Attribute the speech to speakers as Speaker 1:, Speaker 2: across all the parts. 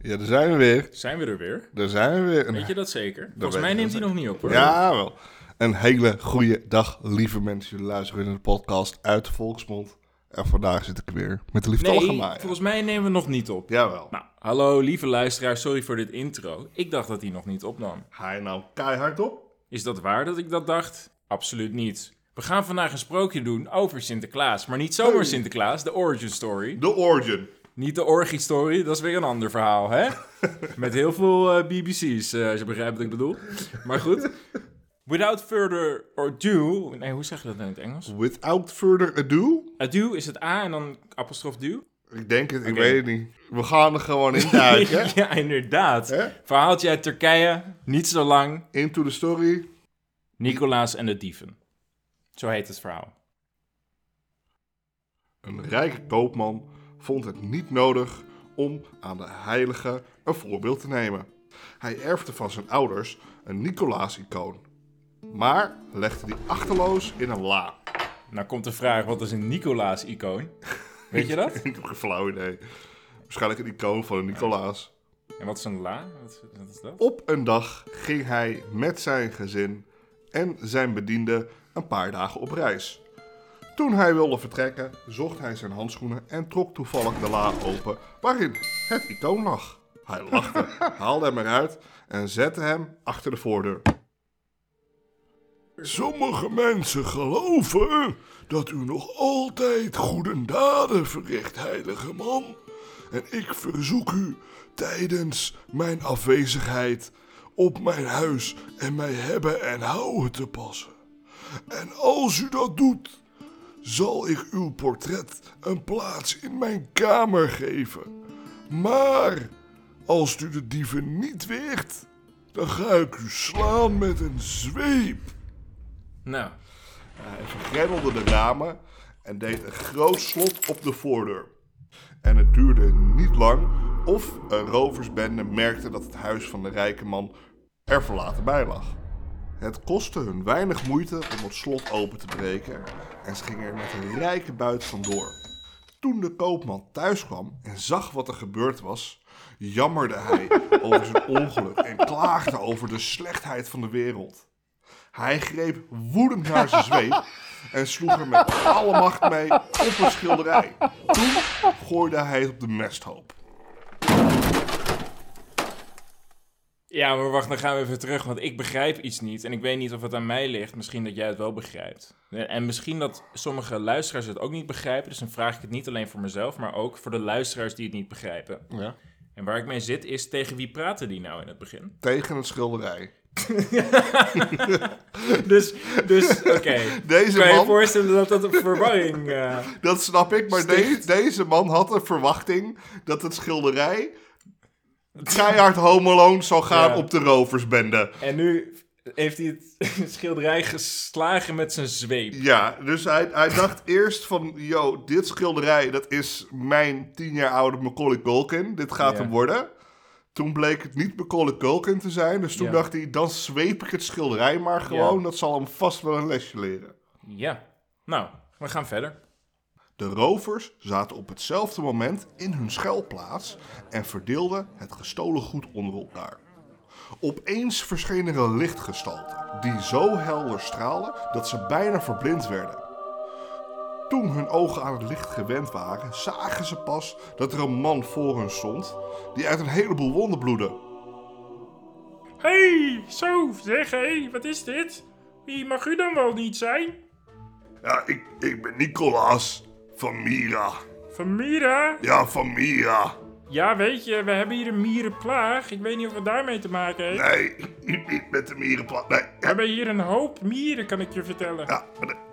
Speaker 1: Ja, daar zijn we weer.
Speaker 2: Zijn we er weer?
Speaker 1: Daar zijn we weer. Een-
Speaker 2: Weet je dat zeker?
Speaker 1: weet
Speaker 2: Volgens mij
Speaker 1: ik
Speaker 2: neemt
Speaker 1: wel
Speaker 2: hij nog niet op hoor.
Speaker 1: Jawel. Een hele goede dag, lieve mensen. Jullie luisteren naar de podcast uit de Volksmond. En vandaag zit ik er weer met de lieftallige
Speaker 2: nee,
Speaker 1: Maya.
Speaker 2: volgens mij nemen we nog niet op.
Speaker 1: Jawel.
Speaker 2: Nou, hallo lieve luisteraar, sorry voor dit intro. Ik dacht dat hij nog niet opnam.
Speaker 1: Hij nou keihard op.
Speaker 2: Is dat waar dat ik dat dacht? Absoluut niet. We gaan vandaag een sprookje doen over Sinterklaas. Maar niet zomaar Sinterklaas, de origin story.
Speaker 1: De origin.
Speaker 2: Niet de orgie story, dat is weer een ander verhaal, hè? Met heel veel eh, BBC's, eh, als je begrijpt wat ik bedoel. Maar goed. Without further ado... Nee, hoe zeg je dat nou in het Engels?
Speaker 1: Without further ado.
Speaker 2: Ado is het A en dan apostrof do.
Speaker 1: Ik denk het, ik
Speaker 2: Oké.
Speaker 1: weet het niet. We gaan er gewoon in duiken.
Speaker 2: ja, inderdaad.
Speaker 1: Hè?
Speaker 2: Verhaaltje uit Turkije, niet zo lang.
Speaker 1: Into the story.
Speaker 2: Nicolaas en de dieven. Zo heet het verhaal.
Speaker 1: Een rijke koopman vond het niet nodig om aan de heilige een voorbeeld te nemen. Hij erfde van zijn ouders een Nicolaas-icoon, maar legde die achterloos in een la.
Speaker 2: Nou komt de vraag, wat is een Nicolaas-icoon? Weet je dat?
Speaker 1: Ik heb geen flauw idee. Waarschijnlijk een icoon van een Nicolaas.
Speaker 2: En wat is een la? Wat, wat is dat?
Speaker 1: Op een dag ging hij met zijn gezin en zijn bediende een paar dagen op reis. Toen hij wilde vertrekken, zocht hij zijn handschoenen en trok toevallig de la open waarin het icoon lag. Hij lachte, haalde hem eruit en zette hem achter de voordeur. Sommige mensen geloven dat u nog altijd goede daden verricht, heilige man. En ik verzoek u tijdens mijn afwezigheid op mijn huis en mijn hebben en houden te passen. En als u dat doet, zal ik uw portret een plaats in mijn kamer geven. Maar als u de dieven niet weegt, dan ga ik u slaan met een zweep.
Speaker 2: Nou,
Speaker 1: Hij vergrendelde de ramen en deed een groot slot op de voordeur. En het duurde niet lang of een roversbende merkte dat het huis van de rijke man er verlaten bij lag. Het kostte hun weinig moeite om het slot open te breken en ze gingen er met een rijke buit vandoor. Toen de koopman thuis kwam en zag wat er gebeurd was, jammerde hij over zijn ongeluk en klaagde over de slechtheid van de wereld. Hij greep woedend naar zijn zweep en sloeg er met alle macht mee op een schilderij. Toen gooide hij het op de mesthoop.
Speaker 2: ja, maar wacht, dan gaan we even terug, want ik begrijp iets niet. En ik weet niet of het aan mij ligt, misschien dat jij het wel begrijpt. En misschien dat sommige luisteraars het ook niet begrijpen. Dus dan vraag ik het niet alleen voor mezelf, maar ook voor de luisteraars die het niet begrijpen.
Speaker 1: Ja.
Speaker 2: En waar ik mee zit is, tegen wie praten die nou in het begin?
Speaker 1: Tegen het schilderij.
Speaker 2: Dus, dus oké.
Speaker 1: Deze
Speaker 2: Kan je
Speaker 1: man-
Speaker 2: je voorstellen dat dat een verwarring... eh,
Speaker 1: Dat snap ik, maar
Speaker 2: Sticht.
Speaker 1: deze- deze man had een verwachting dat het schilderij keihard homoloon zou gaan
Speaker 2: Ja.
Speaker 1: op de roversbende.
Speaker 2: en nu heeft hij het schilderij geslagen met zijn zweep.
Speaker 1: Ja, dus hij, hij dacht eerst van, yo, dit schilderij, dat is mijn tien jaar oude Macaulay Culkin. Dit gaat
Speaker 2: Ja.
Speaker 1: hem worden. Toen bleek het niet Macaulay Culkin te zijn. Dus toen
Speaker 2: Ja.
Speaker 1: dacht hij, dan zweep ik het schilderij maar gewoon. Dat zal hem vast wel een lesje leren.
Speaker 2: Ja. Nou, we gaan verder.
Speaker 1: De rovers zaten op hetzelfde moment in hun schuilplaats en verdeelden het gestolen goed onder elkaar. Opeens verscheen er een lichtgestalte die zo helder straalde dat ze bijna verblind werden. Toen hun ogen aan het licht gewend waren, zagen ze pas dat er een man voor hun stond die uit een heleboel wonden bloedde.
Speaker 2: hey, zo, zeg, hey, wat is dit? Wie mag u dan wel niet zijn?
Speaker 1: Ja, ik, ik ben Nicolaas van Mira.
Speaker 2: Van Mira?
Speaker 1: Ja, van Mira.
Speaker 2: Ja, weet je, we hebben hier een mierenplaag. Ik weet niet of het daarmee te maken heeft.
Speaker 1: Nee, niet met de mierenplaat.
Speaker 2: We hebben hier een hoop mieren, kan ik je vertellen.
Speaker 1: Ja,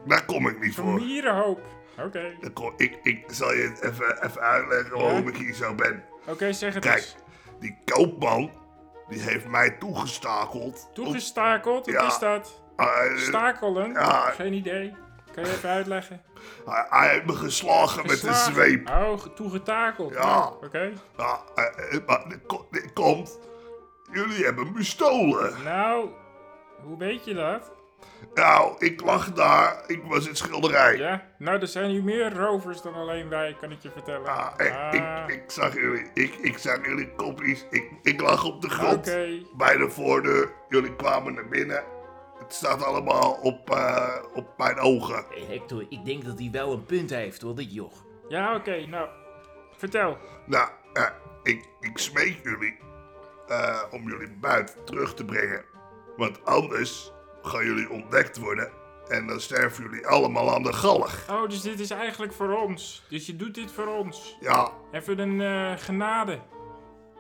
Speaker 1: daar kom ik niet
Speaker 2: Een mierenhoop. Oké.
Speaker 1: Dan kom- Ik, ik zal je het even, even uitleggen waarom
Speaker 2: Ja?
Speaker 1: ik hier zo ben.
Speaker 2: Oké, zeg het
Speaker 1: Kijk,
Speaker 2: eens.
Speaker 1: die koopman, die heeft mij toegestakeld.
Speaker 2: Toegestakeld, wat
Speaker 1: Ja.
Speaker 2: is dat?
Speaker 1: Hij,
Speaker 2: Stakelen?
Speaker 1: Ja.
Speaker 2: Geen idee. Kan je even uitleggen?
Speaker 1: hij, hij heeft me geslagen met een
Speaker 2: Geslagen.
Speaker 1: zweep.
Speaker 2: Oh, ge- toegetakeld.
Speaker 1: Ja.
Speaker 2: Oké.
Speaker 1: Ja, eh, eh, maar dit, ko- dit komt, jullie hebben me gestolen.
Speaker 2: Nou, hoe weet je dat?
Speaker 1: Nou, ik lag daar. Ik was in schilderij.
Speaker 2: Ja? Nou, er zijn hier meer rovers dan alleen wij, kan ik je vertellen.
Speaker 1: Ah, ik,
Speaker 2: Ah,
Speaker 1: ik, ik zag jullie, ik, ik zag jullie kopjes. Ik, ik lag op de
Speaker 2: Oké.
Speaker 1: grond bij de voordeur. Jullie kwamen naar binnen. Het staat allemaal op, eh, op mijn ogen.
Speaker 3: Hector, ik denk dat hij wel een punt heeft, hoor, dit joch.
Speaker 2: Ja, oké, nou. Vertel.
Speaker 1: Nou, eh, ik, ik smeek jullie eh, om jullie buiten terug te brengen. Want anders gaan jullie ontdekt worden. En dan sterven jullie allemaal aan de galg.
Speaker 2: Oh, dus dit is eigenlijk voor ons. Dus je doet dit voor ons.
Speaker 1: Ja,
Speaker 2: Even een eh, genade.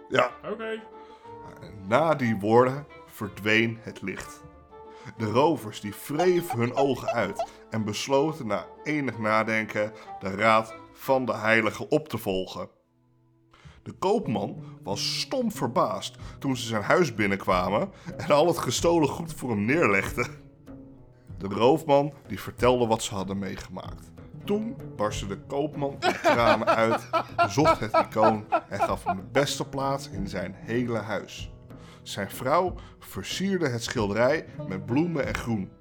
Speaker 1: ja,
Speaker 2: Oké.
Speaker 1: Na die woorden verdween het licht. De rovers die wreven hun ogen uit en besloten na enig nadenken de raad van de heilige op te volgen. De koopman was stom verbaasd toen ze zijn huis binnenkwamen en al het gestolen goed voor hem neerlegden. De roofman die vertelde wat ze hadden meegemaakt. Toen barstte de koopman in tranen uit, zocht het icoon en gaf hem de beste plaats in zijn hele huis. Zijn vrouw versierde het schilderij met bloemen en groen.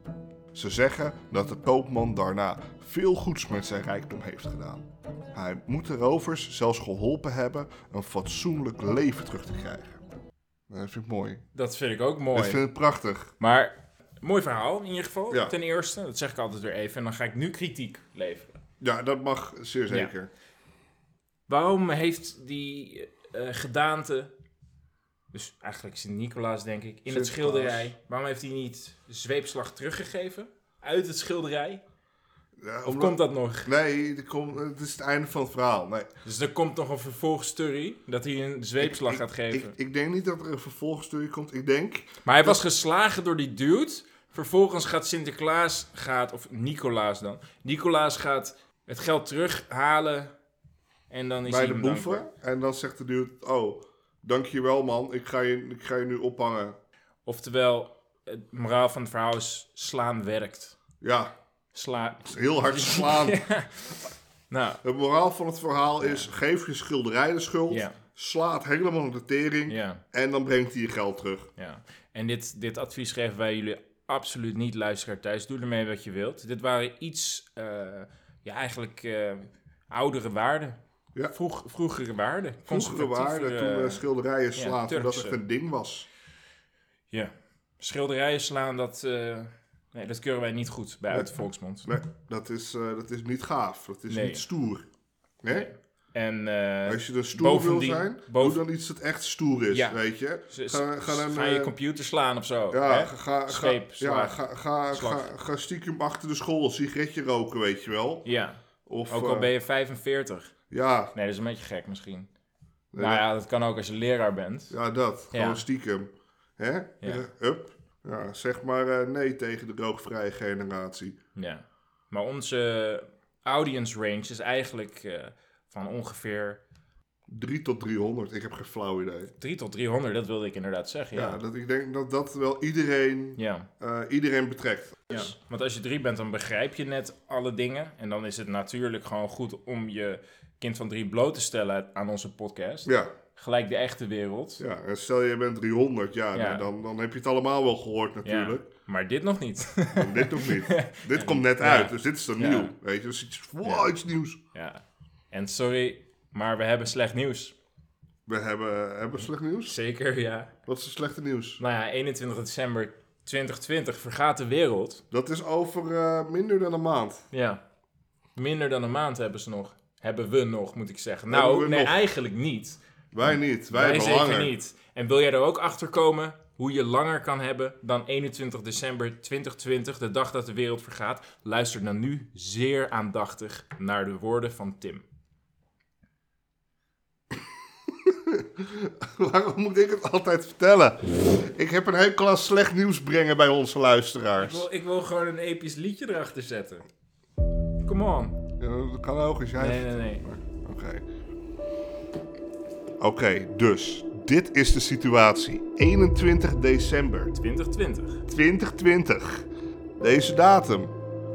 Speaker 1: Ze zeggen dat de koopman daarna veel goeds met zijn rijkdom heeft gedaan. Hij moet de rovers zelfs geholpen hebben een fatsoenlijk leven terug te krijgen. Dat vind ik mooi.
Speaker 2: Dat vind ik ook
Speaker 1: Dat
Speaker 2: mooi.
Speaker 1: vind ik prachtig.
Speaker 2: Maar, mooi verhaal in ieder geval.
Speaker 1: Ja.
Speaker 2: Ten eerste, dat zeg ik altijd weer even. En dan ga ik nu kritiek leveren.
Speaker 1: Ja, dat mag zeer zeker.
Speaker 2: Waarom heeft die eh, gedaante, dus eigenlijk Sint-Nicolaas denk ik, in
Speaker 1: Sinterklaas.
Speaker 2: het schilderij, waarom heeft hij niet de zweepslag teruggegeven uit het schilderij?
Speaker 1: Ja,
Speaker 2: Of
Speaker 1: omdat-
Speaker 2: komt dat nog?
Speaker 1: Nee, er komt- het is het einde van het verhaal. Nee.
Speaker 2: Dus er komt nog een vervolgstory dat hij een zweepslag
Speaker 1: Ik-
Speaker 2: gaat geven.
Speaker 1: Ik, ik denk niet dat er een vervolgstudie komt. Ik denk,
Speaker 2: maar hij was geslagen door die dude. Vervolgens gaat Sinterklaas, gaat, of Nicolaas dan. Nicolaas gaat het geld terughalen. En dan is
Speaker 1: bij
Speaker 2: hij
Speaker 1: de
Speaker 2: hem dankbaar.
Speaker 1: boeven. En dan zegt de dude, oh, dankjewel man, ik ga je, ik ga je nu ophangen.
Speaker 2: Oftewel, het moraal van het verhaal is slaan werkt.
Speaker 1: Ja,
Speaker 2: Sla
Speaker 1: heel hard slaan.
Speaker 2: nou,
Speaker 1: Het moraal van het verhaal is, geef je schilderij de schuld,
Speaker 2: Ja.
Speaker 1: slaat helemaal op de tering
Speaker 2: ja,
Speaker 1: en dan brengt hij je geld terug.
Speaker 2: ja. En dit, dit advies geven wij jullie absoluut niet, luisteraar thuis. Doe ermee wat je wilt. Dit waren iets, eh, ja, eigenlijk eh, oudere waarden.
Speaker 1: Ja.
Speaker 2: Vroeg, vroegere waarden.
Speaker 1: Vroegere waarde, toen
Speaker 2: Conservatievere-
Speaker 1: eh, schilderijen
Speaker 2: ja,
Speaker 1: slaat, omdat
Speaker 2: Turkse.
Speaker 1: het een ding was.
Speaker 2: Ja. Schilderijen slaan, dat, eh, nee, dat keuren wij niet goed bij uit de
Speaker 1: Nee.
Speaker 2: volksmond.
Speaker 1: Nee, dat is, eh, dat is niet gaaf, dat is
Speaker 2: Nee.
Speaker 1: niet stoer. Nee?
Speaker 2: En eh,
Speaker 1: Als je er stoer
Speaker 2: bovendien-
Speaker 1: wil zijn,
Speaker 2: boven-
Speaker 1: doe dan iets dat echt stoer is,
Speaker 2: Ja.
Speaker 1: weet je.
Speaker 2: ze-
Speaker 1: Ga, ga dan,
Speaker 2: ga je
Speaker 1: eh,
Speaker 2: computer slaan of zo.
Speaker 1: ja,
Speaker 2: hè?
Speaker 1: ga, ga, ga,
Speaker 2: Zweep,
Speaker 1: ja,
Speaker 2: slaag,
Speaker 1: ga, ga,
Speaker 2: slag.
Speaker 1: ga, ga stiekem achter de school een sigaretje roken, weet je wel.
Speaker 2: ja.
Speaker 1: Of,
Speaker 2: Ook al
Speaker 1: eh,
Speaker 2: ben je 45.
Speaker 1: Ja,
Speaker 2: Nee, dat is een beetje gek misschien.
Speaker 1: Nee,
Speaker 2: nou
Speaker 1: dat-
Speaker 2: ja, dat kan ook als je leraar bent.
Speaker 1: ja, dat.
Speaker 2: Ja.
Speaker 1: Gewoon stiekem. Hè? Eh,
Speaker 2: Ja.
Speaker 1: Hup. Ja, zeg maar eh, nee tegen de rookvrije generatie.
Speaker 2: Ja. Maar onze audience range is eigenlijk eh, van ongeveer
Speaker 1: 3 tot 300, ik heb geen flauw idee.
Speaker 2: 3 tot 300. Dat wilde ik inderdaad zeggen.
Speaker 1: Ja,
Speaker 2: Ja.
Speaker 1: dat, ik denk dat dat wel iedereen,
Speaker 2: Ja.
Speaker 1: eh, iedereen betrekt.
Speaker 2: ja. Want als je drie bent, dan begrijp je net alle dingen. En dan is het natuurlijk gewoon goed om je kind van drie bloot te stellen aan onze podcast.
Speaker 1: Ja,
Speaker 2: Gelijk de echte wereld.
Speaker 1: ja. en stel je bent 300, ja,
Speaker 2: Ja.
Speaker 1: nou, dan, dan heb je het allemaal wel gehoord
Speaker 2: Ja.
Speaker 1: natuurlijk.
Speaker 2: Maar dit nog niet.
Speaker 1: Maar Dit nog niet. dit komt net uit, dus dit is dan
Speaker 2: Ja.
Speaker 1: nieuw. Weet je, dus iets, wow, iets nieuws.
Speaker 2: ja. En sorry, maar we hebben slecht nieuws.
Speaker 1: We hebben, hebben we slecht nieuws?
Speaker 2: Zeker, ja.
Speaker 1: Wat is het slechte nieuws?
Speaker 2: Nou ja, 21 december 2020 vergaat de wereld.
Speaker 1: Dat is over eh, minder dan een maand.
Speaker 2: Ja. Minder dan een maand hebben ze nog. Hebben we nog, moet ik zeggen.
Speaker 1: Hebben
Speaker 2: Nou,
Speaker 1: we
Speaker 2: nee,
Speaker 1: nog?
Speaker 2: eigenlijk niet.
Speaker 1: Wij niet, wij,
Speaker 2: Wij,
Speaker 1: hebben
Speaker 2: zeker
Speaker 1: langer.
Speaker 2: niet. En wil jij er ook achter komen hoe je langer kan hebben dan 21 december 2020, de dag dat de wereld vergaat? Luister dan nu zeer aandachtig naar de woorden van Tim.
Speaker 1: Waarom moet ik het altijd vertellen? Ik heb een hele klas slecht nieuws brengen bij onze luisteraars.
Speaker 2: ik wil gewoon een episch liedje erachter zetten. Come on.
Speaker 1: Ja, dat kan ook als jij...
Speaker 2: Nee, nee, nee.
Speaker 1: Oké. Oké, dus dit is de situatie. 21 december
Speaker 2: 2020.
Speaker 1: 2020. Deze datum,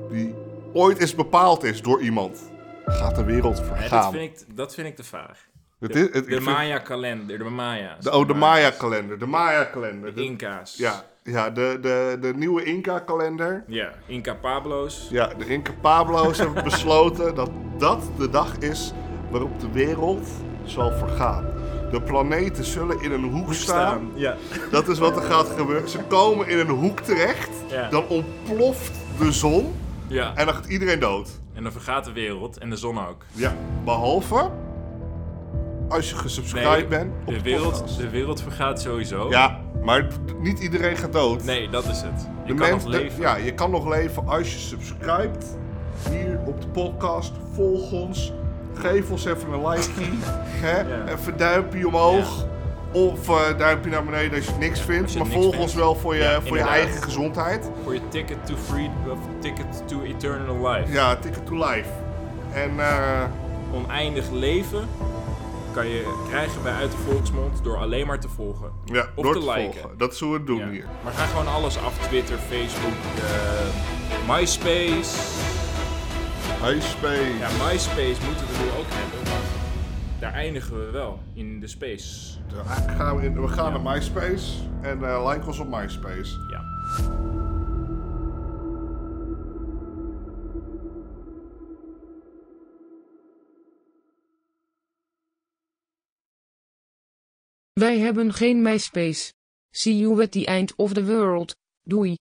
Speaker 1: die ooit eens bepaald is door iemand, gaat de wereld
Speaker 2: Nee, dat,
Speaker 1: vergaan.
Speaker 2: vind ik, dat vind ik te vaag.
Speaker 1: Het is, het,
Speaker 2: De
Speaker 1: ik vind-
Speaker 2: Maya-kalender, de Maya's.
Speaker 1: de, oh, de Maya-kalender. De Maya-kalender. De-
Speaker 2: Inca's.
Speaker 1: Ja, ja de, de, de nieuwe Inca-kalender.
Speaker 2: Ja, Inca Pablo's.
Speaker 1: Ja, de Inca Pablo's hebben besloten dat dat de dag is waarop de wereld zal vergaan. De planeten zullen in een hoek staan.
Speaker 2: Ja.
Speaker 1: Dat is wat er gaat gebeuren. Ze komen in een hoek terecht.
Speaker 2: Ja.
Speaker 1: Dan ontploft de zon.
Speaker 2: ja.
Speaker 1: En dan gaat iedereen dood.
Speaker 2: En dan vergaat de wereld en de zon ook.
Speaker 1: Ja. Behalve als je gesubscribed bent op
Speaker 2: de, wereld, de wereld vergaat sowieso.
Speaker 1: Ja, maar niet iedereen gaat dood.
Speaker 2: Nee, dat is het. Je
Speaker 1: De
Speaker 2: kan
Speaker 1: mens-
Speaker 2: nog
Speaker 1: de-
Speaker 2: leven.
Speaker 1: ja, je kan nog leven als je subscribt hier op de podcast. Volg ons. Geef ons even een likeje. hè?
Speaker 2: Ja.
Speaker 1: Even een duimpje omhoog. Of eh duimpje naar beneden als je niks vindt.
Speaker 2: je
Speaker 1: maar
Speaker 2: niks
Speaker 1: volg
Speaker 2: vindt.
Speaker 1: ons wel voor je,
Speaker 2: Ja,
Speaker 1: voor je
Speaker 2: inderdaad.
Speaker 1: eigen gezondheid.
Speaker 2: Voor je ticket to free, of ticket to eternal life.
Speaker 1: Ja, ticket to life. En eh,
Speaker 2: Oneindig leven kan je krijgen bij Uit de Volksmond door alleen maar te volgen.
Speaker 1: ja,
Speaker 2: of
Speaker 1: door
Speaker 2: te
Speaker 1: te
Speaker 2: liken.
Speaker 1: volgen. Dat zullen we doen
Speaker 2: Ja.
Speaker 1: hier.
Speaker 2: Maar ga gewoon alles af. Twitter, Facebook, eh, MySpace.
Speaker 1: MySpace.
Speaker 2: Ja, MySpace moeten we nu ook hebben. want Daar eindigen we wel in de space.
Speaker 1: Ja, gaan we, in, we gaan naar MySpace. En eh, like ons op MySpace.
Speaker 2: Ja.
Speaker 4: Wij hebben geen MySpace. See you at the end of the world. Doei.